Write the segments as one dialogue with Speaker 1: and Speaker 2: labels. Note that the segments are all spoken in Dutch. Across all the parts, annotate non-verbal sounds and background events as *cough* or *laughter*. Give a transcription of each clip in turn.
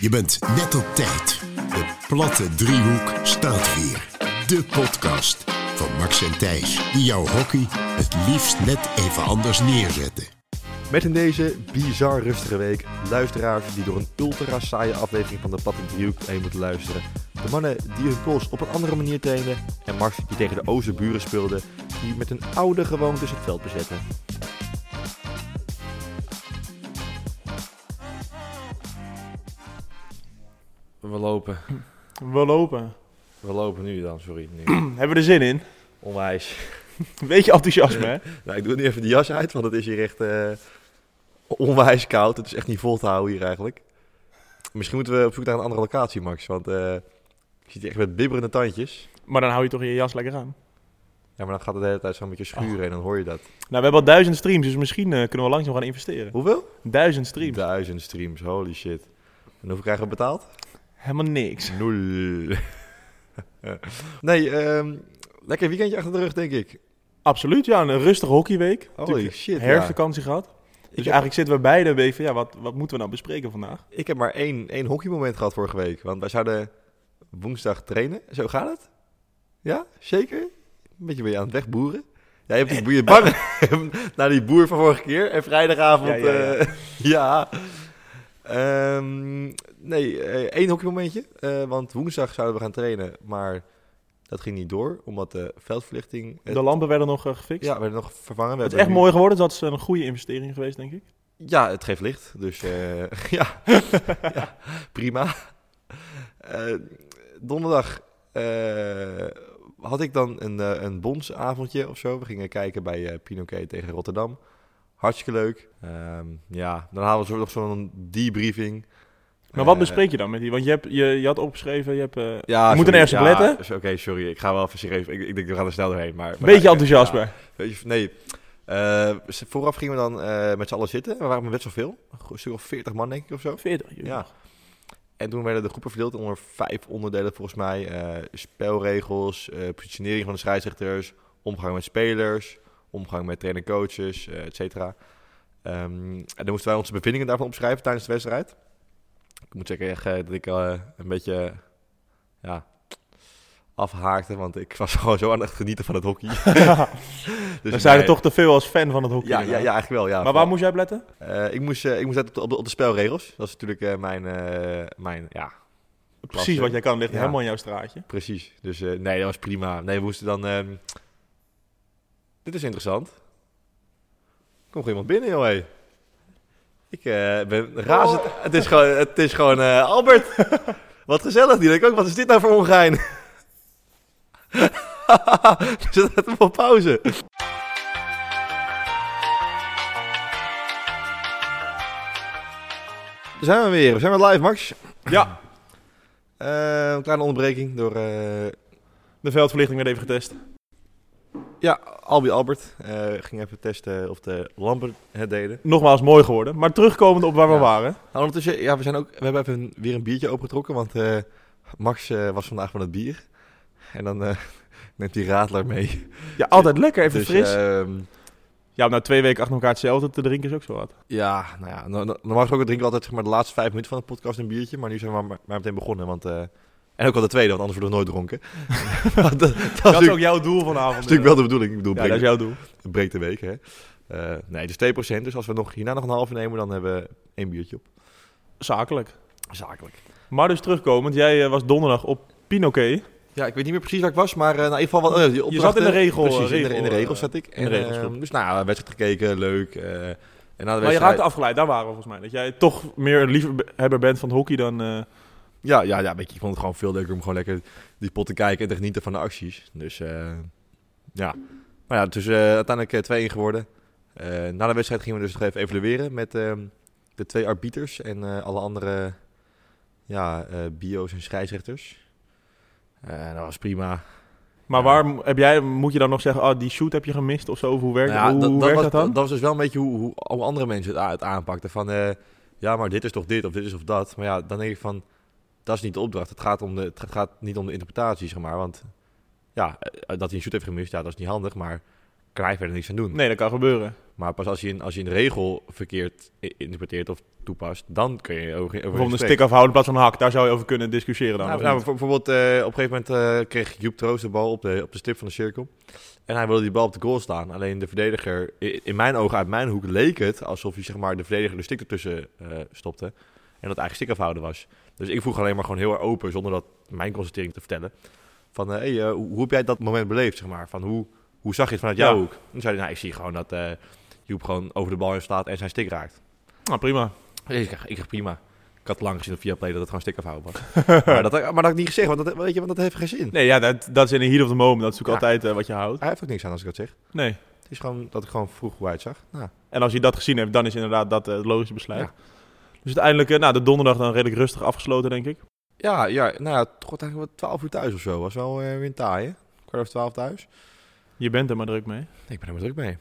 Speaker 1: Je bent net op tijd. De platte driehoek staat weer. De podcast van Max en Thijs, die jouw hockey het liefst net even anders neerzetten.
Speaker 2: Met in deze bizar rustige week luisteraars die door een ultra saaie aflevering van de Platte Driehoek heen moeten luisteren. De mannen die hun pols op een andere manier trainen. En Max die tegen de Oosterburen speelde, die met een oude gewoontes het veld bezetten.
Speaker 3: We lopen.
Speaker 4: We lopen.
Speaker 3: We lopen nu dan, sorry. Nu.
Speaker 2: *clears throat*
Speaker 4: Hebben we er zin in?
Speaker 3: Onwijs.
Speaker 4: Een beetje enthousiasme, hè?
Speaker 2: Nou, ik doe nu even de jas uit, want het is hier echt eh, onwijs koud. Het is echt niet vol te houden hier eigenlijk. Misschien moeten we op zoek naar een andere locatie, Max. Want eh ik zit hier echt met bibberende tandjes.
Speaker 4: Maar dan hou je toch je jas lekker aan.
Speaker 2: Ja, maar dan gaat het de hele tijd zo'n beetje
Speaker 4: Ah.
Speaker 2: schuren en dan hoor je dat.
Speaker 4: Nou, we hebben al duizend streams, dus misschien eh, kunnen we langzaam gaan investeren.
Speaker 2: Hoeveel?
Speaker 4: Duizend streams.
Speaker 2: Duizend streams, holy shit. En hoeveel krijgen we betaald?
Speaker 4: Helemaal niks.
Speaker 2: Nul. *laughs* nee, ehm, lekker weekendje achter de rug, denk ik.
Speaker 4: Absoluut, ja. Een rustige hockeyweek.
Speaker 2: Holy
Speaker 4: Natuurlijk
Speaker 2: shit, ja.
Speaker 4: herfstvakantie gehad. Dus
Speaker 2: Ik, heb,
Speaker 4: eigenlijk zitten we beide een beetje van, ja, wat, wat moeten we nou bespreken vandaag?
Speaker 2: ik heb maar één, één hockeymoment gehad vorige week. Want wij zouden woensdag trainen. Zo gaat het? Ja, zeker? Een beetje ben je aan het wegboeren. Jij hebt die boeien bang *laughs* naar die boer van vorige keer. En vrijdagavond...
Speaker 4: Ja,
Speaker 2: Ja.
Speaker 4: ja, ja.
Speaker 2: *laughs* ja. Ehm, nee, eh, één hockeymomentje. Eh, want woensdag zouden we gaan trainen. Maar dat ging niet door. Omdat de veldverlichting... het
Speaker 4: De lampen werden nog eh, gefixt.
Speaker 2: Ja, we werden nog vervangen. We
Speaker 4: Het
Speaker 2: hebben
Speaker 4: is echt
Speaker 2: nu-
Speaker 4: mooi geworden, dus dat is een goede investering geweest, denk ik.
Speaker 2: Ja, het geeft licht. Dus eh, *laughs* ja. ja, prima. Eh, donderdag eh, had ik dan een, eh, een bondsavondje of zo. We gingen kijken bij eh, Pinoquet tegen Rotterdam. Hartstikke leuk. Ehm, ja, dan halen we zo nog zo'n debriefing.
Speaker 4: Maar wat
Speaker 2: Eh,
Speaker 4: bespreek je dan met die? Want je, hebt, je, je had opgeschreven, je, hebt, eh,
Speaker 2: Ja,
Speaker 4: je moet er
Speaker 2: sorry,
Speaker 4: ergens op
Speaker 2: ja,
Speaker 4: letten.
Speaker 2: Oké, sorry. Ik ga wel even serieus. Ik, ik denk, we gaan er snel doorheen. Maar, maar
Speaker 4: Beetje
Speaker 2: ja,
Speaker 4: enthousiasme.
Speaker 2: ja. Weet je, nee. Eh, vooraf gingen we dan eh, met z'n allen zitten. We waren met best wel veel. Een stuk of 40 man, denk ik, of zo.
Speaker 4: 40. joh. *laughs*
Speaker 2: Ja. *laughs* En toen werden de groepen verdeeld onder vijf onderdelen, volgens mij. Eh, spelregels, eh, positionering van de scheidsrechters, omgang met spelers, omgang met trainer-coaches, eh et cetera. Ehm, en dan moesten wij onze bevindingen daarvan opschrijven tijdens de wedstrijd. Ik moet zeggen echt, eh, dat ik eh, een beetje eh, ja, afhaakte, want ik was *laughs* gewoon zo aan het genieten van het hockey. dus
Speaker 4: Dan zijn er
Speaker 2: nee.
Speaker 4: toch te veel als fan van het hockey.
Speaker 2: Ja, ja, ja, eigenlijk wel. Ja,
Speaker 4: Maar waar
Speaker 2: Van-
Speaker 4: moest jij op letten?
Speaker 2: eh, ik moest, eh, ik moest letten op de, op, de, op de spelregels. Dat is natuurlijk eh, mijn, eh, mijn, ja,
Speaker 4: Precies wat jij kan, ligt
Speaker 2: Ja.
Speaker 4: helemaal in jouw straatje.
Speaker 2: precies. Dus eh, nee, dat was prima. Nee, we moesten dan... ehm, Dit is interessant. Er komt iemand binnen, joh. hé. Ik eh, ben razend. Het is gewoon, het is gewoon eh, Albert. wat gezellig. Die denk ik ook, wat is dit nou voor ongein? *laughs* Zet het op pauze. Daar zijn we weer. We zijn weer live, Max.
Speaker 4: Ja.
Speaker 2: Eh, een kleine onderbreking door eh,
Speaker 4: De veldverlichting werd even getest.
Speaker 2: ja, Albi Albert. eh, ging even testen of de lampen het deden.
Speaker 4: Nogmaals mooi geworden. Maar terugkomend op waar we
Speaker 2: Ja.
Speaker 4: waren.
Speaker 2: Nou, ondertussen, ja, we, zijn ook, we hebben even een- weer een biertje opengetrokken, want eh, Max eh, was vandaag van het bier. En dan eh, *laughs* neemt hij Radler mee.
Speaker 4: Ja, altijd lekker, even
Speaker 2: Dus,
Speaker 4: fris.
Speaker 2: ehm,
Speaker 4: ja, nou twee weken achter elkaar hetzelfde te drinken is ook zo wat.
Speaker 2: ja, nou ja, no- no- normaal gesproken drinken we altijd zeg maar, de laatste vijf minuten van de podcast een biertje, maar nu zijn we maar, maar meteen begonnen. Want, eh, en ook al de tweede, want anders worden we nooit
Speaker 4: *laughs*
Speaker 2: dronken. *laughs* dat, dat, is
Speaker 4: Dat is ook
Speaker 2: natuurlijk,
Speaker 4: jouw doel vanavond.
Speaker 2: natuurlijk wel de bedoeling. Ik bedoel,
Speaker 4: Ja,
Speaker 2: breng-
Speaker 4: dat is jouw doel.
Speaker 2: Het breekt de week, hè? Eh, nee, dus 2%. Dus als we nog, hierna nog een halve nemen, dan hebben we één biertje op.
Speaker 4: Zakelijk.
Speaker 2: Zakelijk.
Speaker 4: Maar dus terugkomend, jij eh, was donderdag op Pinoquet.
Speaker 2: Ja, ik weet niet meer precies waar ik was, maar eh, nou, in ieder geval... Wat, eh, die
Speaker 4: Je zat in de
Speaker 2: opdrachten-
Speaker 4: regel. eh,
Speaker 2: Precies, in, de, in de
Speaker 4: regel,
Speaker 2: regels
Speaker 4: eh,
Speaker 2: zat ik.
Speaker 4: in de
Speaker 2: En, eh,
Speaker 4: regelsgroep.
Speaker 2: dus nou, wedstrijd gekeken, leuk. eh, en na de
Speaker 4: Maar je
Speaker 2: wedstrijd...
Speaker 4: raakte afgeleid, daar waren we volgens mij. Dat jij toch meer een liefhebber bent van het hockey dan... eh,
Speaker 2: Ja, ja, ja, weet je, ik vond het gewoon veel leuker om gewoon lekker die pot te kijken en te genieten van de acties. Dus eh, ja. Maar ja, dus eh, uiteindelijk eh, 2-1 geworden. Eh, na de wedstrijd gingen we dus nog even evalueren met ehm, de twee arbiters en eh, alle andere ja, eh, bio's en scheidsrechters. Eh, dat was prima.
Speaker 4: maar
Speaker 2: Ja.
Speaker 4: waar m- heb jij, moet je dan nog zeggen, ah, die shoot heb je gemist of zo? Of hoe werkt,
Speaker 2: Nou ja,
Speaker 4: hoe,
Speaker 2: dat,
Speaker 4: hoe
Speaker 2: dat
Speaker 4: werkt
Speaker 2: was,
Speaker 4: dat dan?
Speaker 2: Dat was dus wel een beetje hoe, hoe, hoe andere mensen het, a- het aanpakten. Van, eh, ja, maar dit is toch dit, of dit is of dat. Maar ja, dan denk ik van, dat is niet de opdracht. Het gaat, om de, het gaat niet om de interpretatie, zeg maar. Want ja, eh, dat hij een shoot heeft gemist, ja, dat is niet handig. Maar kan hij verder niks aan doen.
Speaker 4: Nee, dat kan gebeuren.
Speaker 2: Maar pas als je, een, als je een regel verkeerd i- interpreteert of toepast, dan kun je over, over
Speaker 4: Bijvoorbeeld een
Speaker 2: gesprek.
Speaker 4: stick afhouden in plaats van een hak. Daar zou je over kunnen discussiëren dan.
Speaker 2: Nou,
Speaker 4: of
Speaker 2: nou,
Speaker 4: niet?
Speaker 2: bijvo- bijvoorbeeld, eh, op een gegeven moment eh, kreeg Joep Troost de bal op de, op de stip van de cirkel. En hij wilde die bal op de goal staan. Alleen de verdediger, i- in mijn ogen, uit mijn hoek, leek het alsof hij zeg maar, de verdediger de stick ertussen eh, stopte. En dat eigenlijk stick afhouden was. Dus ik vroeg alleen maar gewoon heel erg open, zonder dat mijn constatering te vertellen. Van, eh, hey, eh, hoe, hoe heb jij dat moment beleefd, zeg maar? Van, hoe, hoe zag je het vanuit jouw
Speaker 4: Ja.
Speaker 2: hoek? En toen zei hij, nou, ik zie gewoon dat eh, Joep gewoon over de bal heen slaat en zijn stick raakt.
Speaker 4: Nou, prima.
Speaker 2: Dus ik dacht, ik zeg prima. Ik had lang gezien op Viaplay dat het gewoon stick afhouden *laughs* was. maar, dat, eh, maar dat had ik niet gezegd, want dat, weet je, want dat heeft geen zin.
Speaker 4: Nee, ja, dat, dat is in de heat of the moment. Dat is natuurlijk
Speaker 2: Ja.
Speaker 4: altijd eh, wat je houdt.
Speaker 2: Hij heeft ook niks aan als ik dat zeg.
Speaker 4: Nee.
Speaker 2: Het is gewoon dat ik gewoon vroeg hoe hij het zag. Nou,
Speaker 4: En als je dat gezien hebt, dan is inderdaad dat eh, het logische besluit.
Speaker 2: Ja.
Speaker 4: Dus uiteindelijk, eh, nou, de donderdag dan redelijk rustig afgesloten, denk ik.
Speaker 2: ja, ja, nou, het wordt eigenlijk wel 12 uur thuis of zo. Was wel eh, weer een taai, hè? Kwart over 12 thuis.
Speaker 4: Je bent er maar druk mee.
Speaker 2: Nee, ik ben er helemaal druk mee.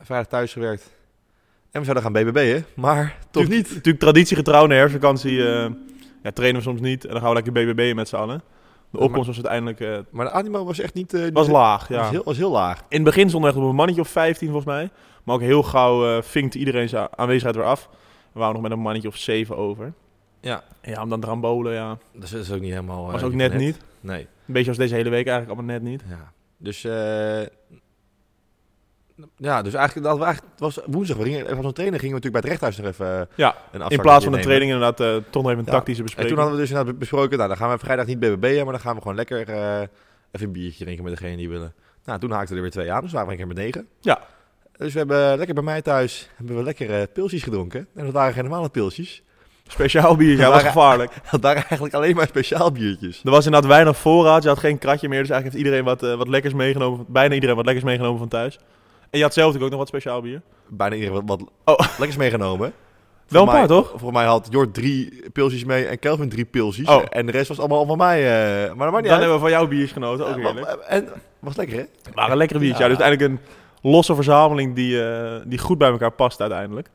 Speaker 2: Vrijdag thuis gewerkt. En we zouden gaan BBB'en, maar toch niet.
Speaker 4: Natuurlijk traditiegetrouw naar herfstvakantie. eh, ja, trainen we soms niet. En dan gaan we lekker BBB'en met z'n allen. De
Speaker 2: Ja,
Speaker 4: opkomst was uiteindelijk... eh,
Speaker 2: Maar de animo was echt niet... eh, niet-
Speaker 4: was laag,
Speaker 2: was
Speaker 4: ja.
Speaker 2: heel, was heel laag.
Speaker 4: In het begin stonden we echt op een mannetje of 15 volgens mij. Maar ook heel gauw eh vinkte iedereen zijn aanwezigheid weer af. We waren nog met een mannetje of 7 over.
Speaker 2: Ja.
Speaker 4: En ja, om dan te gaan bowlen, ja.
Speaker 2: Dat is, dat is ook niet helemaal... eh,
Speaker 4: Was ook net, niet.
Speaker 2: Nee.
Speaker 4: Een beetje als deze hele week eigenlijk, allemaal net niet.
Speaker 2: Ja. Dus... eh, ja, dus eigenlijk, dat we eigenlijk het was woensdag, we gingen, er was een trainer, gingen we natuurlijk bij het rechthuis nog even eh,
Speaker 4: Ja,
Speaker 2: een
Speaker 4: In
Speaker 2: afzakje
Speaker 4: plaats van een
Speaker 2: nemen.
Speaker 4: training inderdaad eh, toch nog even een
Speaker 2: Ja.
Speaker 4: tactische
Speaker 2: En
Speaker 4: bespreking.
Speaker 2: toen hadden we dus inderdaad besproken, nou dan gaan we vrijdag niet BBB'en, maar dan gaan we gewoon lekker eh, even een biertje drinken met degene die willen. Nou, toen haakten er weer twee aan, dus waren we een keer met negen.
Speaker 4: Ja.
Speaker 2: Dus we hebben lekker bij mij thuis, hebben we lekker eh, pilsjes gedronken. En dat waren geen normale pilsjes. *laughs*
Speaker 4: Speciaal bier, ja,
Speaker 2: We
Speaker 4: was
Speaker 2: waren-
Speaker 4: gevaarlijk.
Speaker 2: Dat waren eigenlijk alleen maar speciaal biertjes.
Speaker 4: Er was inderdaad weinig voorraad, je had geen kratje meer. Dus eigenlijk heeft iedereen wat, eh, wat lekkers meegenomen, van- bijna iedereen wat lekkers meegenomen van thuis. En je had zelf natuurlijk ook nog wat speciaal bier.
Speaker 2: Bijna iedereen wat, wat
Speaker 4: Oh.
Speaker 2: lekkers meegenomen.
Speaker 4: Wel een
Speaker 2: Voor
Speaker 4: paar,
Speaker 2: mij-
Speaker 4: toch?
Speaker 2: Voor mij had Jort drie pilsjes mee en Kelvin drie pilsjes.
Speaker 4: Oh.
Speaker 2: En de rest was allemaal van mij. eh, maar dat maakt
Speaker 4: Dan
Speaker 2: niet uit.
Speaker 4: hebben we van jouw bier genoten, ook
Speaker 2: Eh,
Speaker 4: heerlijk.
Speaker 2: wa- En was lekker, hè?
Speaker 4: Maar een lekkere biertje, ja.
Speaker 2: Ja.
Speaker 4: Dus uiteindelijk een losse verzameling die, eh, die goed bij elkaar past uiteindelijk.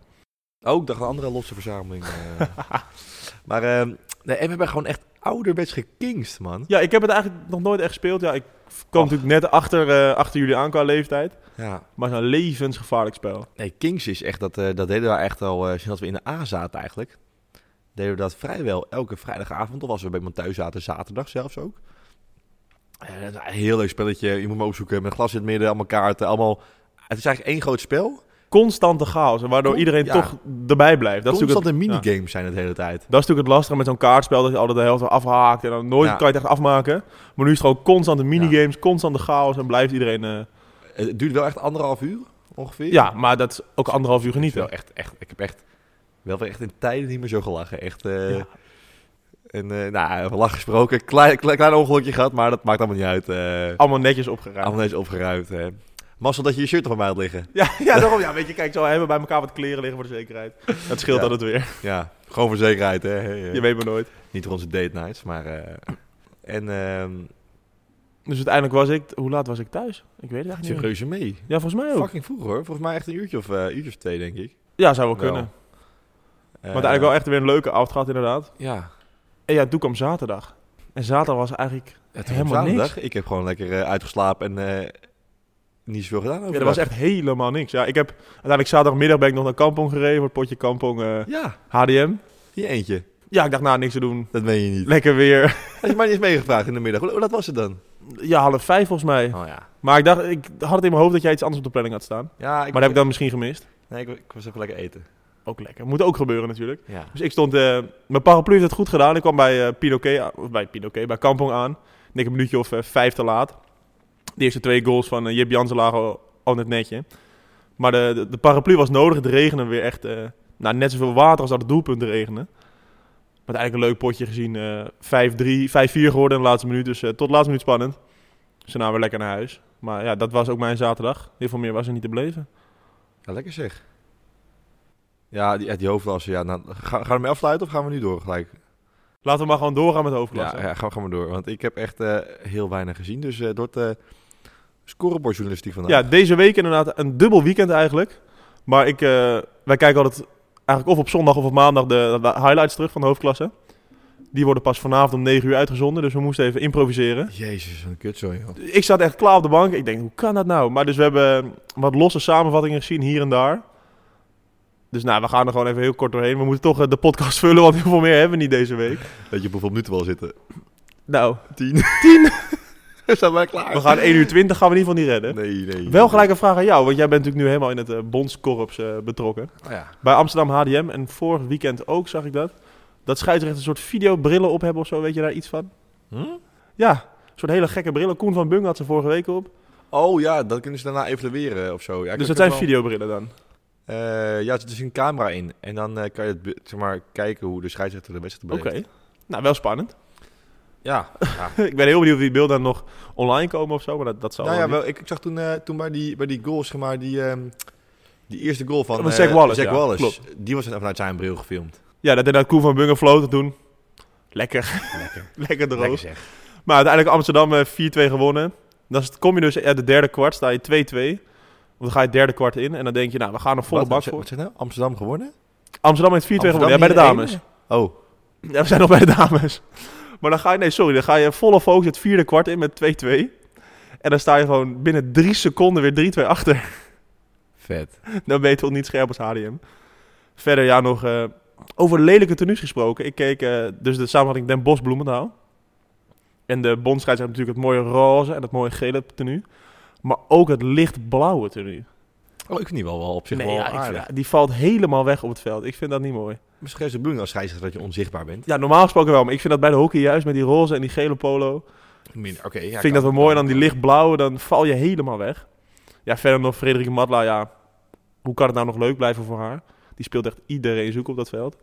Speaker 2: Oh, ik dacht een andere losse verzameling. eh. *laughs*
Speaker 4: *laughs*
Speaker 2: maar ehm, nee, en we hebben gewoon echt ouderwets gekingst, man.
Speaker 4: Ja, ik heb het eigenlijk nog nooit echt gespeeld. Ja, ik kwam
Speaker 2: Och.
Speaker 4: natuurlijk net achter, eh, achter jullie aan qua leeftijd.
Speaker 2: Ja.
Speaker 4: Maar het is een levensgevaarlijk spel.
Speaker 2: Nee, kings is echt, dat, eh, dat deden we echt al eh, sinds we in de A zaten eigenlijk. Deden we dat vrijwel elke vrijdagavond, of als we bij iemand thuis zaten, zaterdag zelfs ook. Eh, dat is een heel leuk spelletje, je moet me opzoeken, met een glas in het midden, allemaal kaarten, allemaal... Het is eigenlijk één groot spel.
Speaker 4: Constante chaos, en waardoor
Speaker 2: Con-
Speaker 4: iedereen
Speaker 2: ja.
Speaker 4: toch erbij blijft. Dat is, natuurlijk
Speaker 2: Constant
Speaker 4: het,
Speaker 2: een minigames zijn het de hele tijd.
Speaker 4: dat is natuurlijk het lastige met zo'n kaartspel, dat je altijd de helft afhaakt en dan nooit
Speaker 2: Ja.
Speaker 4: kan je het echt afmaken. Maar nu is het gewoon constante minigames, constante chaos en blijft iedereen... eh,
Speaker 2: Het duurt wel echt anderhalf uur, ongeveer.
Speaker 4: ja, maar dat is ook anderhalf uur
Speaker 2: Wel
Speaker 4: genieten.
Speaker 2: echt, echt, ik heb echt wel weer echt in tijden niet meer zo gelachen. Echt, eh,
Speaker 4: Ja.
Speaker 2: en, eh, nou, over lach gesproken. Klein, klein, klein ongelukje gehad, maar dat maakt allemaal niet uit. eh
Speaker 4: Allemaal netjes opgeruimd.
Speaker 2: allemaal eens opgeruimd. hè. Mazzel dat je je shirt er van mij had liggen.
Speaker 4: *laughs* Ja, ja,
Speaker 2: *laughs*
Speaker 4: daarom. Ja, weet je, kijk, zo hebben we bij elkaar wat kleren liggen voor de zekerheid. Dat scheelt
Speaker 2: Ja.
Speaker 4: dan het weer.
Speaker 2: Ja, gewoon voor zekerheid. Hè. Hey, eh,
Speaker 4: Je weet maar nooit.
Speaker 2: Niet voor onze date nights, maar... eh, en ehm
Speaker 4: Dus uiteindelijk was ik... Hoe laat was ik thuis? Ik weet het
Speaker 2: het
Speaker 4: eigenlijk
Speaker 2: zit
Speaker 4: niet meer.
Speaker 2: reuze mee.
Speaker 4: Ja, volgens mij ook.
Speaker 2: Fucking vroeg hoor. Volgens mij echt een uurtje of, eh, uurtje of twee, denk ik.
Speaker 4: Ja, zou wel
Speaker 2: Wel.
Speaker 4: kunnen.
Speaker 2: Eh,
Speaker 4: Maar uiteindelijk wel echt weer een leuke avond gehad, inderdaad.
Speaker 2: Ja.
Speaker 4: En ja, toen kwam zaterdag. En zaterdag was eigenlijk...
Speaker 2: Het
Speaker 4: Helemaal niks.
Speaker 2: Ik heb gewoon lekker eh, uitgeslapen en eh, niet zoveel gedaan.
Speaker 4: Ja, dat
Speaker 2: overdag.
Speaker 4: was echt helemaal niks. Ja, ik heb... Uiteindelijk zaterdagmiddag ben ik nog naar Kampong gereden. Voor het potje Kampong eh,
Speaker 2: Ja,
Speaker 4: HDM.
Speaker 2: die eentje.
Speaker 4: Ja, ik dacht, nou, niks te doen.
Speaker 2: Dat meen je niet.
Speaker 4: Lekker weer. *laughs*
Speaker 2: Had je mij niet eens meegevraagd in de middag? Hoe, hoe laat was het dan?
Speaker 4: Ja, half vijf volgens mij.
Speaker 2: Oh ja.
Speaker 4: Maar ik dacht, ik had het in mijn hoofd dat jij iets anders op de planning had staan.
Speaker 2: Ja, ik,
Speaker 4: Maar dat heb ik dan misschien gemist.
Speaker 2: nee, ik, ik was even lekker eten.
Speaker 4: Ook lekker. Moet ook gebeuren natuurlijk.
Speaker 2: Ja.
Speaker 4: Dus ik stond, eh, mijn paraplu heeft het goed gedaan. Ik kwam bij eh Pinoquet, aan- of bij Pinoquet, bij Kampong aan. Ik denk een minuutje of eh, vijf te laat. De eerste twee goals van eh, Jip Jansen lagen al- al net netje. Maar de, de, de paraplu was nodig. Het regende weer echt, eh, nou, net zoveel water als dat het doelpunt regende. Maar uiteindelijk een leuk potje gezien. eh 5-3, 5-4 geworden in de laatste minuut. Dus eh, tot de laatste minuut spannend. Dus daarna weer lekker naar huis. Maar ja, dat was ook mijn zaterdag. Heel veel meer was er niet te beleven.
Speaker 2: Ja, lekker zeg. Ja, die, ja, die hoofdlassen. Ja, nou, ga- gaan we ermee afsluiten of gaan we nu door gelijk?
Speaker 4: Laten we maar gewoon doorgaan met de hoofdklasse.
Speaker 2: Ja, ja gaan, we- gaan we door. Want ik heb echt eh, heel weinig gezien. Dus eh door de scorebordjournalistiek vandaag.
Speaker 4: Ja, deze week inderdaad een dubbel weekend eigenlijk. Maar ik, eh, wij kijken altijd eigenlijk of op zondag of op maandag de, de highlights terug van de hoofdklasse. Die worden pas vanavond om 9 uur uitgezonden. Dus we moesten even improviseren.
Speaker 2: Jezus, wat een kutzooi, joh.
Speaker 4: Ik zat echt klaar op de bank. Ik denk, hoe kan dat nou? Maar dus we hebben wat losse samenvattingen gezien hier en daar. Dus nou, we gaan er gewoon even heel kort doorheen. We moeten toch eh, de podcast vullen, want heel veel meer hebben we niet deze week.
Speaker 2: Weet je op hoeveel minuten we al zitten?
Speaker 4: Nou,
Speaker 2: Tien. *laughs* We staan maar klaar.
Speaker 4: we gaan 1 uur 20 gaan we in ieder geval niet redden.
Speaker 2: Nee, nee.
Speaker 4: Wel gelijk een vraag aan jou, want jij bent natuurlijk nu helemaal in het eh, bondskorps eh, betrokken.
Speaker 2: Oh, ja.
Speaker 4: Bij Amsterdam HDM en vorig weekend ook zag ik dat. Dat scheidsrechten een soort videobrillen op hebben of zo, weet je daar iets van?
Speaker 2: Hm?
Speaker 4: Ja, een soort hele gekke brillen. Koen van Bung had ze vorige week op.
Speaker 2: oh ja, dat kunnen ze daarna evalueren of zo. Ja, ik
Speaker 4: dus
Speaker 2: heb
Speaker 4: dat zijn
Speaker 2: wel-
Speaker 4: videobrillen dan.
Speaker 2: Eh, ja, er zit dus een camera in. En dan eh, kan je het, be- zeg maar, kijken hoe de scheidsrechter de wedstrijd
Speaker 4: Oké.
Speaker 2: beleeft.
Speaker 4: Nou, wel spannend. *laughs*
Speaker 2: Ja.
Speaker 4: ik ben heel benieuwd of die beelden dan nog online komen of zo, maar dat, dat zal
Speaker 2: Nou ja,
Speaker 4: wel
Speaker 2: wel, ik, ik zag toen, eh, toen bij, die, bij die goal, zeg maar, die, ehm, die eerste goal van,
Speaker 4: Van
Speaker 2: eh,
Speaker 4: Zack Wallace, ja,
Speaker 2: Wallace.
Speaker 4: klopt.
Speaker 2: Die was vanuit zijn bril gefilmd.
Speaker 4: niet. Ja, dat inderdaad Koen van Bung een float doen. Lekker.
Speaker 2: Lekker.
Speaker 4: *laughs* Lekker droog.
Speaker 2: Lekker zeg.
Speaker 4: Maar uiteindelijk Amsterdam eh, 4-2 gewonnen. Dan is het- kom je dus uit de derde kwart, sta je 2-2. Want dan ga je het derde kwart in en dan denk je, nou, we gaan een volle
Speaker 2: Wat?
Speaker 4: bak
Speaker 2: Wat
Speaker 4: voor.
Speaker 2: zeg je nou? Amsterdam gewonnen?
Speaker 4: Amsterdam heeft 4-2 gewonnen, ja, bij de
Speaker 2: Amsterdam
Speaker 4: dames.
Speaker 2: Oh,
Speaker 4: Ja, we zijn nog bij de dames. Maar dan ga je, nee, sorry, dan ga je volle focus het vierde kwart in met 2-2. En dan sta je gewoon binnen drie seconden weer 3-2 achter. *laughs*
Speaker 2: vet.
Speaker 4: Dan ben je toch niet scherp als HDM. Verder, ja, nog eh, over lelijke tenues gesproken. Ik keek eh, dus de samenvatting Den Bosch Bloemendaal. En de bondscheids hebben natuurlijk het mooie roze en het mooie gele tenue. Maar ook het lichtblauwe tenue.
Speaker 2: Oh, ik vind die wel, wel op zich wel
Speaker 4: ja, ik vind-
Speaker 2: aardig.
Speaker 4: ja, die valt helemaal weg op het veld. Ik vind dat niet mooi.
Speaker 2: Misschien is de bedoeling als scheidsrechter dat je onzichtbaar bent.
Speaker 4: Ja, normaal gesproken wel. Maar ik vind dat bij de hockey juist met die roze en die gele polo.
Speaker 2: Minder. Oké, ja,
Speaker 4: vind ik dat wel mooi. Dan die lichtblauwe, dan val je helemaal weg. Ja, verder nog Frederike Matla. Ja, hoe kan het nou nog leuk blijven voor haar? Die speelt echt iedereen zoek op dat veld.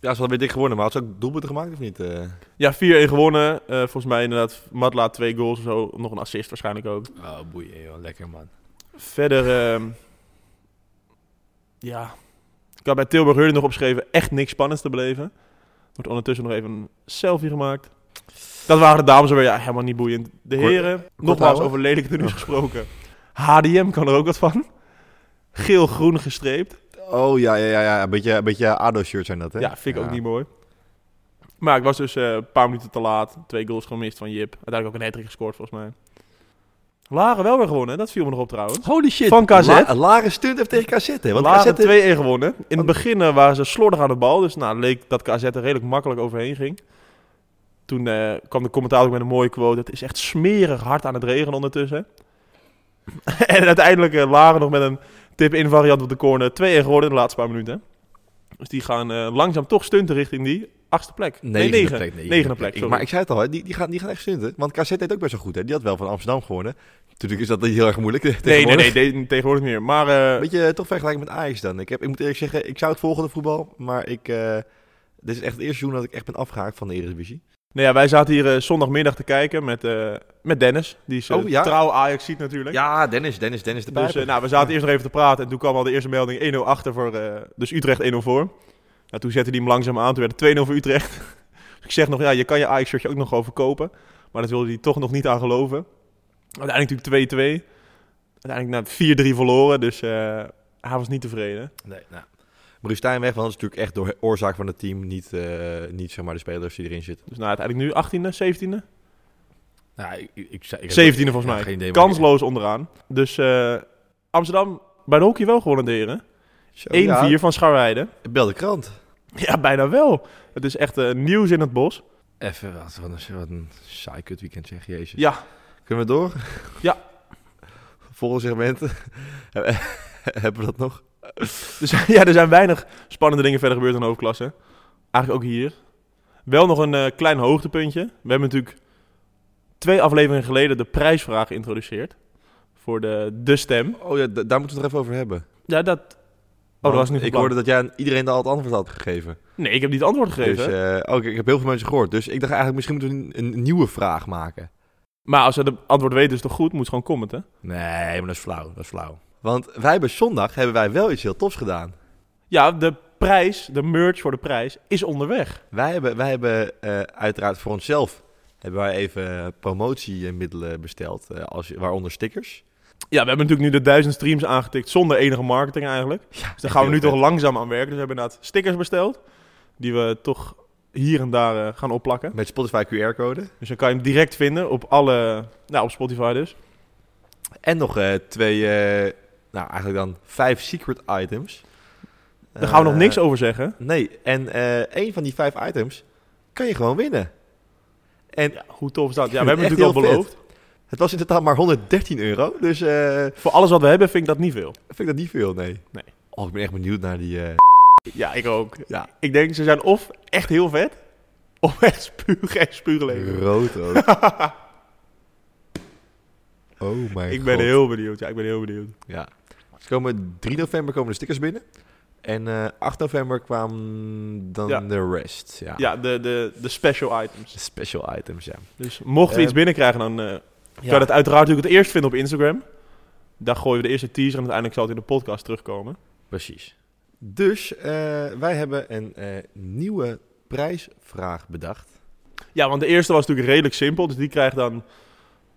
Speaker 2: Ja, ze had weer dik geworden, maar had ze ook doelpunten gemaakt of niet? eh?
Speaker 4: Ja, 4-1 gewonnen. Eh, volgens mij inderdaad Matla twee goals of zo. Nog een assist waarschijnlijk ook.
Speaker 2: Oh, boeien joh. Lekker man.
Speaker 4: Verder, ehm, ja. Ik had bij Tilburg Heurden nog opgeschreven echt niks spannends te beleven. Wordt ondertussen nog even een selfie gemaakt. Dat waren de dames alweer. Ja, helemaal niet boeiend. De
Speaker 2: Kort-
Speaker 4: heren, nogmaals
Speaker 2: houden. Oh.
Speaker 4: over lelijke tenues gesproken. HDM kan er ook wat van. Geel-groen gestreept.
Speaker 2: Oh ja, ja, ja, ja. Een beetje, een beetje ADO-shirt zijn dat, hè?
Speaker 4: Ja, vind ik ook niet mooi. Maar ik was dus eh, een paar minuten te laat. Twee goals gemist van Jip. Uiteindelijk ook een hat gescoord volgens mij. Laren wel weer gewonnen. hè? Dat viel me nog op trouwens.
Speaker 2: Holy shit.
Speaker 4: Van KZ.
Speaker 2: La, Laren stunt heeft tegen KZ, hè? Want
Speaker 4: Laren
Speaker 2: KZ heeft-
Speaker 4: 2-1 gewonnen. In het begin eh, waren ze slordig aan de bal. Dus nou, leek dat KZ er redelijk makkelijk overheen ging. Toen eh, kwam de commentaar ook met een mooie quote. Het is echt smerig hard aan het regenen ondertussen. *laughs* en uiteindelijk eh, Laren nog met een tip-in variant op de corner. 2-1 geworden in de laatste paar minuten. Dus die gaan eh, langzaam toch stunten richting die achtste plek.
Speaker 2: Negende
Speaker 4: negen.
Speaker 2: plek, negende
Speaker 4: Negende plek,
Speaker 2: Ik-
Speaker 4: sorry.
Speaker 2: maar ik zei het al, hè, die, die, gaan, die gaan echt stunten. Want KZ deed ook best wel goed, hè? Die had wel van Amsterdam gewonnen. Natuurlijk is dat niet heel erg moeilijk. *laughs*
Speaker 4: Nee, nee,
Speaker 2: tegenwoordig.
Speaker 4: nee, de- tegenwoordig niet meer. Maar eh,
Speaker 2: Beetje eh, toch vergelijken met Ajax dan. Ik, heb, ik moet eerlijk zeggen, ik zou het volgen de voetbal. Maar ik, eh, dit is echt het eerste seizoen dat ik echt ben afgehaakt van de Eredivisie.
Speaker 4: nou ja, wij zaten hier eh, zondagmiddag te kijken met, eh, met Dennis. Die is eh,
Speaker 2: Oh, ja.
Speaker 4: trouw Ajax ziet natuurlijk.
Speaker 2: Ja, Dennis, Dennis, Dennis de
Speaker 4: Dus eh, nou, we zaten eerst nog even te praten en toen kwam al de eerste melding 1-0 achter voor, eh, dus Utrecht 1-0 voor. Nou, toen zette hij hem langzaam aan, toen werd het 2-0 voor Utrecht. *laughs* dus ik zeg nog, ja, je kan je Ajax-shirtje ook nog gewoon verkopen, maar dat wilde hij toch nog niet aan geloven. Uiteindelijk natuurlijk 2-2, uiteindelijk nou, 4-3 verloren, dus eh, hij was niet tevreden.
Speaker 2: Nee, nou. Bruce Stijnweg, want dat is natuurlijk echt door oorzaak van het team. Niet, eh, niet zeg maar de spelers die erin zitten.
Speaker 4: Dus nou, uiteindelijk nu 18e, 17e?
Speaker 2: Nou, ik, ik,
Speaker 4: 17e volgens mij. Kansloos onderaan. Dus eh, Amsterdam bij de hockey wel gewonnen, de heren. 1-4 van Scharweide. *laughs*
Speaker 2: Bel de krant.
Speaker 4: Ja, bijna wel. Het is echt eh, nieuws in het bos.
Speaker 2: Even, wat, wat, een, wat een saai kut weekend zeg, jezus.
Speaker 4: Ja,
Speaker 2: Kunnen we door?
Speaker 4: Ja.
Speaker 2: *laughs* Volgende segment. *laughs* Hebben we dat nog?
Speaker 4: Er zijn, *laughs* ja, er zijn weinig spannende dingen verder gebeurd in de hoofdklasse. Eigenlijk ook hier. Wel nog een eh, klein hoogtepuntje. We hebben natuurlijk twee afleveringen geleden de prijsvraag geïntroduceerd. Voor de, de stem.
Speaker 2: Oh ja, d- daar moeten we het nog even over hebben. Oh,
Speaker 4: Ja, dat... dat was niet
Speaker 2: Ik
Speaker 4: gepland.
Speaker 2: hoorde dat jij aan iedereen al het antwoord had gegeven.
Speaker 4: Nee, ik heb niet het antwoord gegeven.
Speaker 2: Dus, eh, ook, ik heb heel veel mensen gehoord. Dus ik dacht eigenlijk, misschien moeten we een, een nieuwe vraag maken.
Speaker 4: Maar als ze het antwoord weten is het toch goed? Moet ze gewoon commenten.
Speaker 2: Nee, maar dat is flauw. Dat is flauw. Want wij hebben zondag hebben wij wel iets heel tofs gedaan.
Speaker 4: Ja, de prijs, de merch voor de prijs, is onderweg.
Speaker 2: Wij hebben, wij hebben eh, uiteraard voor onszelf hebben wij even promotiemiddelen besteld, eh, als, waaronder stickers.
Speaker 4: Ja, we hebben natuurlijk nu de duizend streams aangetikt zonder enige marketing eigenlijk.
Speaker 2: Ja,
Speaker 4: Dus daar gaan we nu toch langzaam aan werken. Dus we hebben inderdaad stickers besteld. Die we toch hier en daar eh, gaan opplakken.
Speaker 2: Met Spotify QR-code.
Speaker 4: Dus dan kan je hem direct vinden op alle, nou op Spotify dus.
Speaker 2: En nog eh, twee, eh, nou eigenlijk dan vijf secret items.
Speaker 4: Daar gaan we nog
Speaker 2: Eh,
Speaker 4: niks over zeggen.
Speaker 2: Nee, en eh één van die vijf items kan je gewoon winnen. En
Speaker 4: Hoe tof is dat?
Speaker 2: vind
Speaker 4: Ja, *laughs* we hebben
Speaker 2: het
Speaker 4: natuurlijk al
Speaker 2: echt heel
Speaker 4: beloofd.
Speaker 2: het was in totaal maar 113 euro, dus eh,
Speaker 4: Voor alles wat we hebben vind ik dat niet veel.
Speaker 2: vind ik dat niet veel, nee.
Speaker 4: Nee.
Speaker 2: Oh, ik ben echt benieuwd naar die...
Speaker 4: *laughs*
Speaker 2: eh,
Speaker 4: Ja, ik ook.
Speaker 2: ja,
Speaker 4: Ik denk ze zijn of echt heel vet, *laughs* of echt spuug, echt spuugleven.
Speaker 2: rood
Speaker 4: *laughs*
Speaker 2: ook. oh mijn
Speaker 4: Ik ben
Speaker 2: god.
Speaker 4: heel benieuwd. Ja, ik ben heel benieuwd.
Speaker 2: Ja. Dus komen 3 november komen de stickers binnen. En eh 8 november kwam dan
Speaker 4: Ja.
Speaker 2: de rest. Ja.
Speaker 4: Ja, de, de, de special items.
Speaker 2: Special items, ja.
Speaker 4: Dus mochten we
Speaker 2: Eh,
Speaker 4: iets binnenkrijgen, dan eh
Speaker 2: Ja.
Speaker 4: kan je dat uiteraard natuurlijk het eerst vinden op Instagram. Daar gooien we de eerste teaser en uiteindelijk zal het in de podcast terugkomen.
Speaker 3: Precies.
Speaker 2: Dus eh, wij hebben een eh, nieuwe prijsvraag bedacht.
Speaker 4: Ja, want de eerste was natuurlijk redelijk simpel. Dus die krijgt dan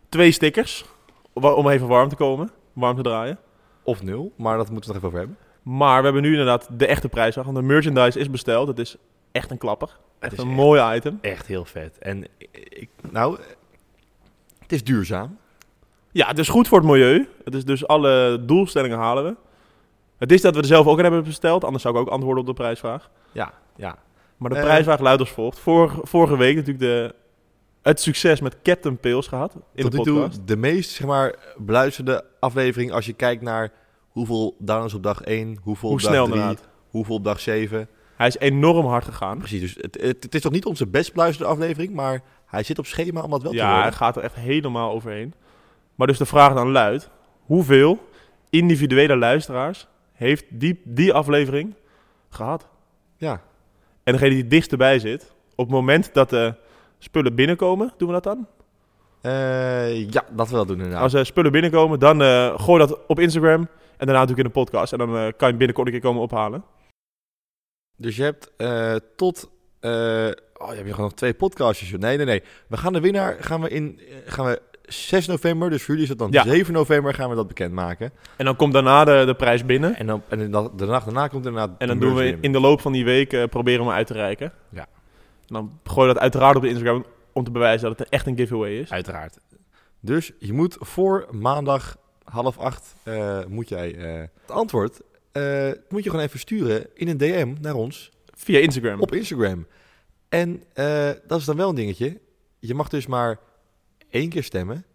Speaker 4: twee stickers wa- om even warm te komen, warm te draaien.
Speaker 2: Of nul, maar dat moeten we nog even over hebben.
Speaker 4: Maar we hebben nu inderdaad de echte prijs. Want de merchandise is besteld. Het is echt een klapper.
Speaker 2: Het
Speaker 4: Echt een mooi item.
Speaker 2: echt heel vet. En ik, nou, het is duurzaam.
Speaker 4: Ja, het is goed voor het milieu. Het is dus alle doelstellingen halen we. Het is dat we er zelf ook aan hebben besteld, anders zou ik ook antwoorden op de prijsvraag.
Speaker 2: Ja, ja.
Speaker 4: Maar de
Speaker 2: Eh.
Speaker 4: prijsvraag luidt als volgt. Vor- vorige week natuurlijk de, het succes met Captain Pils gehad in
Speaker 2: Tot
Speaker 4: de
Speaker 2: nu
Speaker 4: podcast.
Speaker 2: toe de meest zeg maar, beluisterde aflevering als je kijkt naar hoeveel downloads op dag 1, hoeveel
Speaker 4: Hoe
Speaker 2: op dag
Speaker 4: snel
Speaker 2: 3,
Speaker 4: inderdaad.
Speaker 2: hoeveel op dag 7.
Speaker 4: Hij is enorm hard gegaan.
Speaker 2: Precies, dus het, het, het is toch niet onze best beluisterde aflevering, maar hij zit op schema om dat wel te
Speaker 4: Ja, hij
Speaker 2: worden.
Speaker 4: gaat er echt helemaal overheen. Maar dus de vraag dan luidt, hoeveel individuele luisteraars heeft die, die aflevering gehad?
Speaker 2: Ja,
Speaker 4: En degene die het dichtst erbij zit, op het moment dat de spullen binnenkomen, doen we dat dan?
Speaker 2: Eh, ja, dat we dat doen inderdaad.
Speaker 4: Als er spullen binnenkomen, dan eh, gooi dat op Instagram. En daarna natuurlijk in de podcast. En dan eh, kan je hem binnenkort een keer komen ophalen.
Speaker 2: Dus je hebt eh, tot... eh, oh, je hebt hier gewoon nog twee podcastjes. joh. Nee, nee, nee. We gaan de winnaar gaan we in... eh, Gaan we 6 november, dus voor jullie is dat dan
Speaker 4: Ja.
Speaker 2: 7 november, gaan we dat bekendmaken.
Speaker 4: En dan komt daarna de, de prijs binnen.
Speaker 2: En, dan, en dan, de nacht daarna komt inderdaad...
Speaker 4: En dan
Speaker 2: de
Speaker 4: doen we
Speaker 2: merch
Speaker 4: in de loop van die week eh, proberen we hem uit te reiken.
Speaker 2: Ja.
Speaker 4: En dan gooi je dat uiteraard op de Instagram om te bewijzen dat het echt een giveaway is.
Speaker 2: Uiteraard. Dus je moet voor maandag half acht eh, moet jij eh, het antwoord eh, moet je gewoon even sturen in een DM naar ons
Speaker 4: Via Instagram.
Speaker 2: op Instagram. En eh, dat is dan wel een dingetje. Je mag dus maar één keer stemmen.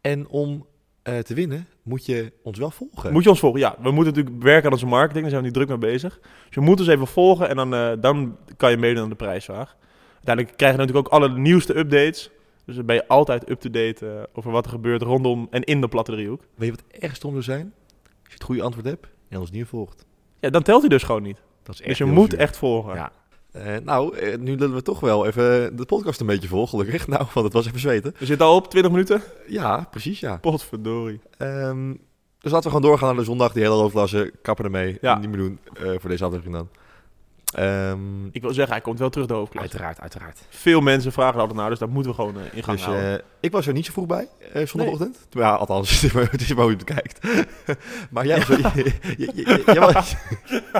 Speaker 2: En om eh, te winnen moet je ons wel volgen.
Speaker 4: Moet je ons volgen? Ja, we moeten natuurlijk werken aan onze marketing. Daar zijn we nu druk mee bezig. Dus je moet ons even volgen en dan, eh, dan kan je meedoen aan de prijsvraag. Uiteindelijk krijg je natuurlijk ook alle nieuwste updates. Dus dan ben je altijd up-to-date eh, over wat er gebeurt rondom en in de platte driehoek.
Speaker 2: Weet je wat echt stom zou zijn? Als je het goede antwoord hebt en ons niet volgt.
Speaker 4: Ja, dan telt hij dus gewoon niet.
Speaker 2: Dat is echt
Speaker 4: Dus je
Speaker 2: heel
Speaker 4: moet
Speaker 2: zuur.
Speaker 4: echt volgen.
Speaker 2: Ja. Eh, nou, eh, nu lullen we toch wel even de podcast een beetje vol, gelukkig. *laughs* Nou, want het was even zweten. Eh,
Speaker 4: We zitten al op 20 minuten.
Speaker 2: Ja, precies, ja.
Speaker 4: Potverdorie.
Speaker 2: Ehm, dus laten we gewoon doorgaan naar de zondag. Die hele hoofdklasse. Kappen ermee.
Speaker 4: Ja.
Speaker 2: Niet meer doen eh, voor deze aflevering dan. Ehm,
Speaker 4: Ik wil zeggen, hij komt wel terug de hoofdklas.
Speaker 2: uiteraard, uiteraard.
Speaker 4: Veel mensen vragen er altijd naar, dus daar moeten we gewoon eh, in gaan
Speaker 2: Dus
Speaker 4: houden.
Speaker 2: eh, ik was er niet zo vroeg bij eh, zondagochtend. Ja, althans, *laughs* het is maar, het is maar hoe je het bekijkt. *laughs* maar jij was, *laughs* er, j- j- j- jij, was, *laughs*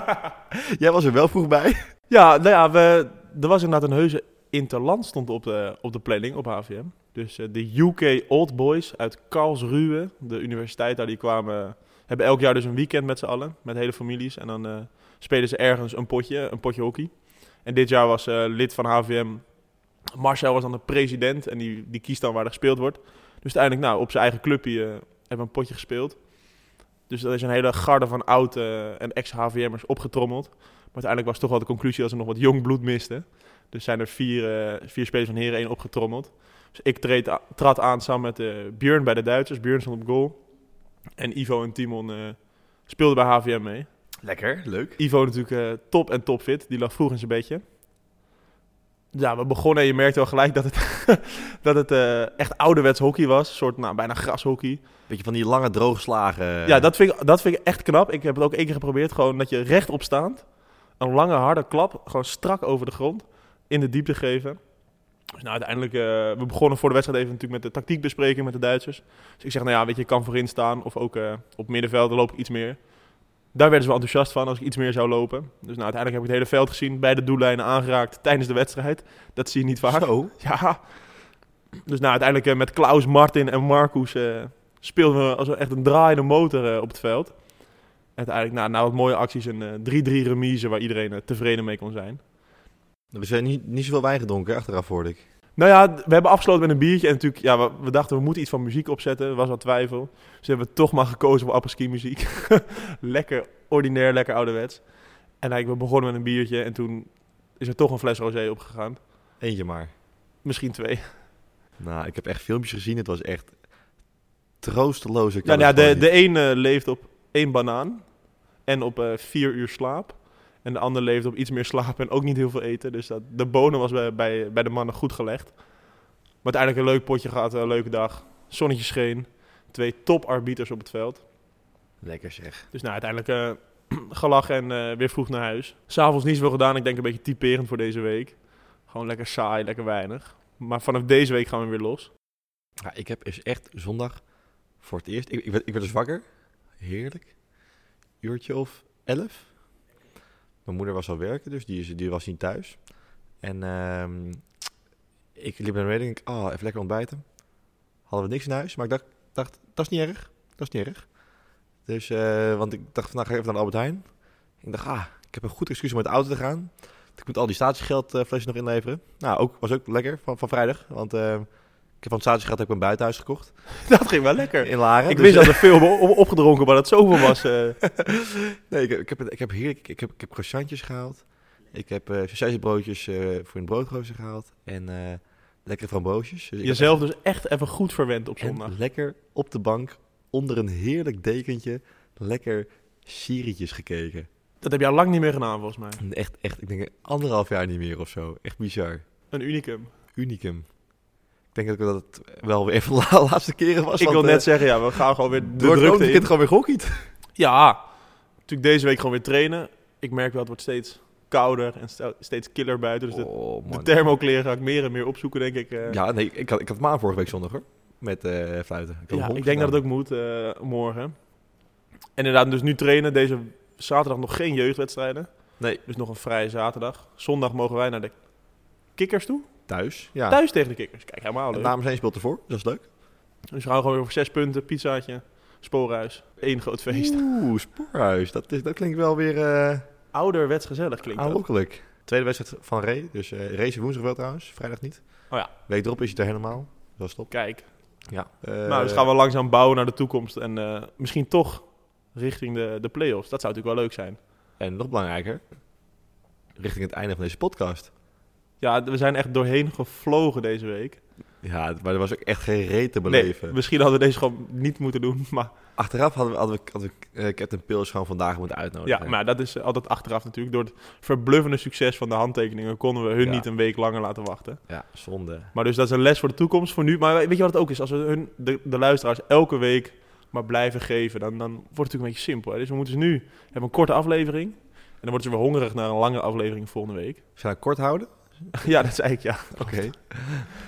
Speaker 2: jij was er wel vroeg bij.
Speaker 4: Ja, nou ja, we, er was inderdaad een heuse interland stond op de, op de planning op HVM. Dus eh, de UK Old Boys uit Karlsruhe, de universiteit daar, die kwamen... Hebben elk jaar dus een weekend met z'n allen, met hele families. En dan eh, spelen ze ergens een potje, een potje hockey. En dit jaar was eh, lid van HVM, Marcel was dan de president. En die, die kiest dan waar er gespeeld wordt. Dus uiteindelijk, nou, op zijn eigen clubje eh, hebben we een potje gespeeld. Dus er is een hele garde van oud eh, en ex-HVM'ers opgetrommeld. Maar uiteindelijk was toch wel de conclusie dat ze nog wat jong bloed misten. Dus zijn er vier, eh, vier spelers van Heren 1 opgetrommeld. Dus ik treed a- trad aan samen met eh Björn bij de Duitsers. Björn stond op goal. En Ivo en Timon eh, speelden bij HVM mee.
Speaker 2: Lekker, leuk.
Speaker 4: Ivo natuurlijk eh, top en top fit. Die lag vroeg in zijn bedje. Ja, we begonnen en je merkte wel gelijk dat het, *laughs* dat het eh, echt ouderwets hockey was. Een soort nou, bijna grashockey.
Speaker 2: Beetje van die lange droogslagen.
Speaker 4: Ja, dat vind, ik, dat vind ik echt knap. Ik heb het ook één keer geprobeerd. Gewoon dat je rechtop staand, een lange harde klap, gewoon strak over de grond, in de diepte geven. Dus nou, uiteindelijk, eh, we begonnen voor de wedstrijd even natuurlijk met de tactiekbespreking met de Duitsers. Dus ik zeg, nou ja, weet je, ik kan voorin staan of ook eh, op middenveld, dan loop ik iets meer. Daar werden ze wel enthousiast van als ik iets meer zou lopen. Dus nou, uiteindelijk heb ik het hele veld gezien, beide doellijnen aangeraakt tijdens de wedstrijd. Dat zie je niet vaak.
Speaker 2: Zo.
Speaker 4: *laughs* Ja. Dus nou, uiteindelijk eh, met Klaus, Martin en Marcus eh, speelden we als echt een draaiende motor eh, op het veld. Uiteindelijk nou, na, na wat mooie acties een eh, 3-3 remise waar iedereen eh, tevreden mee kon zijn.
Speaker 2: We zijn eh, niet, niet zoveel wijn gedronken, hè, achteraf hoorde ik.
Speaker 4: Nou ja, d- we hebben afgesloten met een biertje. En natuurlijk, ja, we, we dachten we moeten iets van muziek opzetten. Er was wat twijfel. Dus hebben we toch maar gekozen voor apres-ski muziek. *laughs* lekker ordinair, lekker ouderwets. En eigenlijk, we begonnen met een biertje. En toen is er toch een fles rosé opgegaan.
Speaker 2: Eentje maar.
Speaker 4: Misschien twee.
Speaker 2: Nou, ik heb echt filmpjes gezien. Het was echt troosteloze
Speaker 4: Ja, nou, ja, de, de een eh, leeft op één banaan. En op eh, vier uur slaap. En de ander leeft op iets meer slaap en ook niet heel veel eten. Dus dat, de bonen was bij, bij, bij de mannen goed gelegd. Maar uiteindelijk een leuk potje gehad, een leuke dag. Zonnetje scheen. Twee top-arbiters op het veld.
Speaker 2: Lekker zeg.
Speaker 4: Dus nou, uiteindelijk eh *clears throat* gelachen en eh, weer vroeg naar huis. S'avonds niets veel gedaan. Ik denk een beetje typerend voor deze week. Gewoon lekker saai, lekker weinig. Maar vanaf deze week gaan we weer los. *laughs*
Speaker 2: Ja, ik heb is echt zondag voor het eerst... Ik, ik, werd, ik werd dus wakker. Heerlijk. Uurtje of elf. Mijn moeder was al werken, dus die, is, die was niet thuis. En ehm, ik liep naar beneden en ik... Oh, even lekker ontbijten. Hadden we niks in huis, maar ik dacht... dacht dat is niet erg. Dat is niet erg. Dus, eh, want ik dacht vandaag ga ik even naar de Albert Heijn. Ik dacht, ah, ik heb een goed excuus om met de auto te gaan. Ik moet al die statiegeldflesjes nog inleveren. Nou, ook, was ook lekker van, van vrijdag. Want eh, ik heb van het statiegeld heb ik een buitenhuis gekocht.
Speaker 4: Dat ging wel lekker.
Speaker 2: In Laren.
Speaker 4: Ik
Speaker 2: Dus,
Speaker 4: wist
Speaker 2: eh,
Speaker 4: dat er veel op- op- opgedronken, maar dat zoveel was. eh.
Speaker 2: Nee, ik, heb- ik, heb, ik heb heerlijk, ik heb, ik heb croissantjes gehaald. Ik heb uh, sausijzenbroodjes eh, voor in de broodrooster gehaald. En eh lekkere framboosjes. Dus ik heb
Speaker 4: Jezelf dus echt even goed verwend op
Speaker 2: echt- en
Speaker 4: zondag.
Speaker 2: lekker op de bank, onder een heerlijk dekentje, lekker serietjes gekeken.
Speaker 4: Dat heb je al lang niet meer gedaan volgens mij.
Speaker 2: En Echt, echt, ik denk anderhalf jaar niet meer of zo. Echt bizar.
Speaker 4: Een unicum.
Speaker 2: Unicum. Ik denk ook dat het wel weer *laughs* even de laatste keren was.
Speaker 4: ik
Speaker 2: want,
Speaker 4: wil net
Speaker 2: eh,
Speaker 4: zeggen, ja, we
Speaker 2: *laughs*
Speaker 4: gaan gewoon weer de
Speaker 2: door het
Speaker 4: drukte
Speaker 2: weekend
Speaker 4: in.
Speaker 2: gewoon weer gokkied.
Speaker 4: Ja, natuurlijk deze week gewoon weer trainen. Ik merk wel, het wordt steeds kouder en st- steeds killer buiten. Dus de,
Speaker 2: oh,
Speaker 4: de thermokleren ga ik meer en meer opzoeken, denk ik. eh.
Speaker 2: Ja, nee, ik had, ik had maan vorige week zondag hoor. Met eh fluiten. Ik, had een
Speaker 4: Ja, ik
Speaker 2: honk
Speaker 4: denk dat
Speaker 2: gedaan.
Speaker 4: het ook moet eh, morgen. En inderdaad, dus nu trainen. Deze zaterdag nog geen jeugdwedstrijden.
Speaker 2: Nee.
Speaker 4: Dus nog een vrije zaterdag. Zondag mogen wij naar de kikkers toe.
Speaker 2: thuis. Ja. Oh,
Speaker 4: Thuis tegen de kikkers. Kijk, helemaal
Speaker 2: En
Speaker 4: leuk.
Speaker 2: Namens één speelt ervoor, dus dat is leuk.
Speaker 4: Dus we gaan gewoon weer voor zes punten, pizzaatje, spoorhuis. Eén groot feest.
Speaker 2: Oeh, spoorhuis. Dat, is, dat klinkt wel weer eh
Speaker 4: Ouderwets gezellig klinkt dat.
Speaker 2: aanlokkelijk. Tweede wedstrijd van Ray. Dus eh race is woensdag wel trouwens, vrijdag niet.
Speaker 4: Oh ja.
Speaker 2: Week erop is het er helemaal. Dat is top. Eh,
Speaker 4: Kijk.
Speaker 2: Ja.
Speaker 4: nou, dus gaan we langzaam bouwen naar de toekomst. En eh, misschien toch richting de, de play-offs. Dat zou natuurlijk wel leuk zijn.
Speaker 2: En nog belangrijker, richting het einde van deze podcast.
Speaker 4: Ja, we zijn echt doorheen gevlogen deze week.
Speaker 2: Ja, maar er was ook echt geen reet te
Speaker 4: Nee,
Speaker 2: beleven.
Speaker 4: misschien hadden we deze gewoon niet moeten doen. *laughs* Maar
Speaker 2: Achteraf hadden we, hadden we, hadden we eh, Captain Pils gewoon vandaag moeten uitnodigen.
Speaker 4: ja, maar dat is eh, altijd achteraf natuurlijk. Door het verbluffende succes van de handtekeningen konden we hun
Speaker 2: Ja.
Speaker 4: niet een week langer laten wachten.
Speaker 2: Ja, zonde.
Speaker 4: Maar dus dat is een les voor de toekomst voor nu. Maar weet je wat het ook is? Als we hun, de, de luisteraars elke week maar blijven geven, dan, dan wordt het natuurlijk een beetje simpel. Hè? Dus we moeten ze nu we hebben een korte aflevering. En dan worden ze weer hongerig naar een langere aflevering volgende week. *laughs*
Speaker 2: Zullen we het kort houden?
Speaker 4: ja, dat is eigenlijk ja.
Speaker 2: Oké.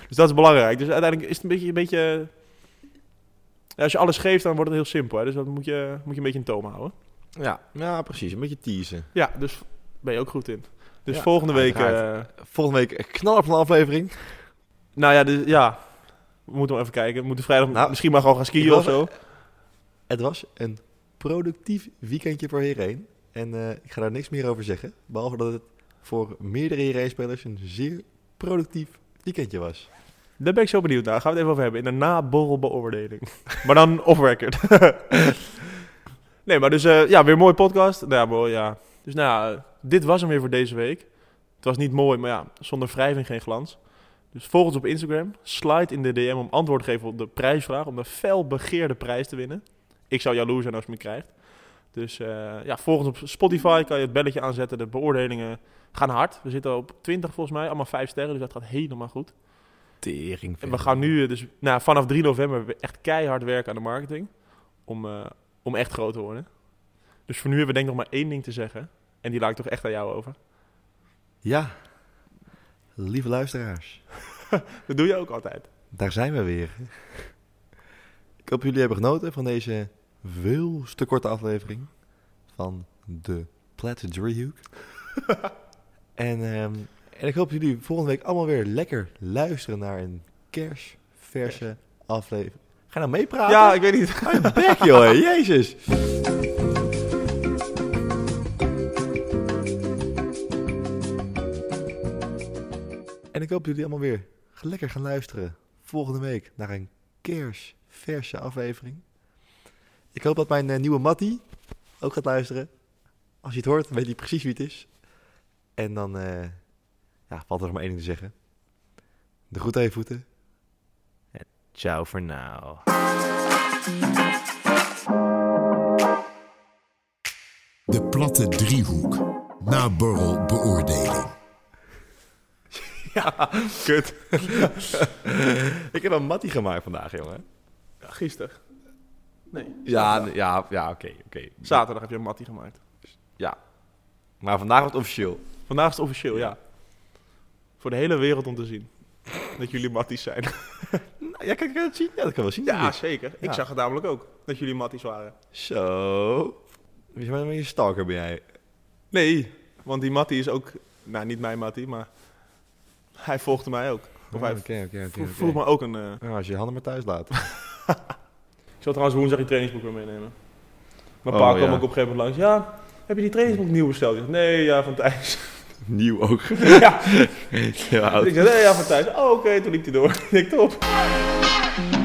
Speaker 4: Dus dat is belangrijk. Dus uiteindelijk is het een beetje. Een beetje ja, als je alles geeft, dan wordt het heel simpel. Hè? Dus dat moet je, moet je een beetje in toom houden.
Speaker 2: Ja, ja, precies. Een beetje teasen.
Speaker 4: Ja, dus ben je ook goed in. Dus
Speaker 2: Ja,
Speaker 4: volgende week.
Speaker 2: uiteraard.
Speaker 4: eh,
Speaker 2: Volgende week een knaller van een aflevering.
Speaker 4: nou ja, dus, ja, we moeten wel even kijken. We moeten vrijdag
Speaker 2: Nou,
Speaker 4: misschien maar gewoon gaan
Speaker 2: ik
Speaker 4: skiën
Speaker 2: wil
Speaker 4: of zo.
Speaker 2: Het was een productief weekendje voor Heerenveen. En eh, ik ga daar niks meer over zeggen. Behalve dat het voor meerdere Heerenveen-spelers een zeer productief weekendje was.
Speaker 4: Daar ben ik zo benieuwd naar. Gaan we het even over hebben. In de naborrelbeoordeling. *laughs* maar dan off-record. *laughs* nee, maar dus eh, ja, weer een mooie podcast. Nou ja, mooi, ja. Dus nou ja, eh, dit was hem weer voor deze week. Het was niet mooi, maar ja, zonder wrijving geen glans. Dus volg ons op Instagram. Slide in de DM om antwoord te geven op de prijsvraag. Om de felbegeerde prijs te winnen. Ik zou jaloers zijn als je me krijgt. Dus eh, ja, volg ons op Spotify. Kan je het belletje aanzetten. De beoordelingen gaan hard. We zitten op 20 volgens mij. Allemaal 5 sterren, dus dat gaat helemaal goed.
Speaker 2: Tering.
Speaker 4: En we gaan nu eh, dus nou, vanaf 3 november we echt keihard werken aan de marketing. Om, eh, om echt groot te worden. Dus voor nu hebben we denk ik nog maar één ding te zeggen. En die laat ik toch echt aan jou over.
Speaker 2: Ja, lieve luisteraars.
Speaker 4: Dat doe je ook altijd.
Speaker 2: Daar zijn we weer. Ik hoop jullie hebben genoten van deze veel te korte aflevering. van de Platte Driehoek. en, ehm, en ik hoop dat jullie volgende week allemaal weer lekker luisteren naar een kerstverse aflevering. Ga nou meepraten.
Speaker 4: Ja, ik weet niet.
Speaker 2: Hou
Speaker 4: *laughs*
Speaker 2: je bek, joh. Jezus. En ik hoop dat jullie allemaal weer lekker gaan luisteren volgende week naar een kerstverse aflevering. Ik hoop dat mijn eh, nieuwe Matty ook gaat luisteren. Als je het hoort, weet hij precies wie het is. En dan eh, ja, valt er nog maar één ding te zeggen. De groet aan je voeten. En ciao voor now.
Speaker 1: De platte driehoek. Naborrel beoordeling.
Speaker 2: Kut. *laughs* ik heb een mattie gemaakt vandaag, jongen.
Speaker 4: Gisteren. Nee.
Speaker 2: Ja, ja, ja, oké, oké.
Speaker 4: Zaterdag heb je een mattie gemaakt.
Speaker 2: Maar vandaag wordt het officieel.
Speaker 4: Vandaag is het officieel, ja. Voor de hele wereld om te zien. Dat jullie matties zijn.
Speaker 2: Nou, ja, kan, kan je dat zien? Ja, dat kan wel zien.
Speaker 4: *laughs* Ja,
Speaker 2: Ja.
Speaker 4: zeker. Ik
Speaker 2: Ja.
Speaker 4: zag het namelijk ook. Dat jullie matties waren.
Speaker 2: Zo. Weet je wel, een stalker ben jij.
Speaker 4: Nee, want die mattie is ook... Nou, niet mijn mattie, maar... Hij volgde mij ook. Of hij
Speaker 2: oké,
Speaker 4: vro- vroeg me ook een... eh,
Speaker 2: Nou, als je je handen maar thuis laat.
Speaker 4: Ik zal trouwens woensdag die trainingsboek weer meenemen. Mijn
Speaker 2: Oh,
Speaker 4: pa
Speaker 2: ja.
Speaker 4: kwam ook op een gegeven moment langs. Ja, heb je die trainingsboek nieuw besteld? Ik zeg, nee, ja, van Thijs.
Speaker 2: *laughs*
Speaker 4: *laughs*
Speaker 2: Nieuw *laughs* ook.
Speaker 4: ja.
Speaker 2: Heel oud.
Speaker 4: *laughs* Ik zei, nee, ja, van Thijs. Oh, oké, toen liep hij door. ik, top.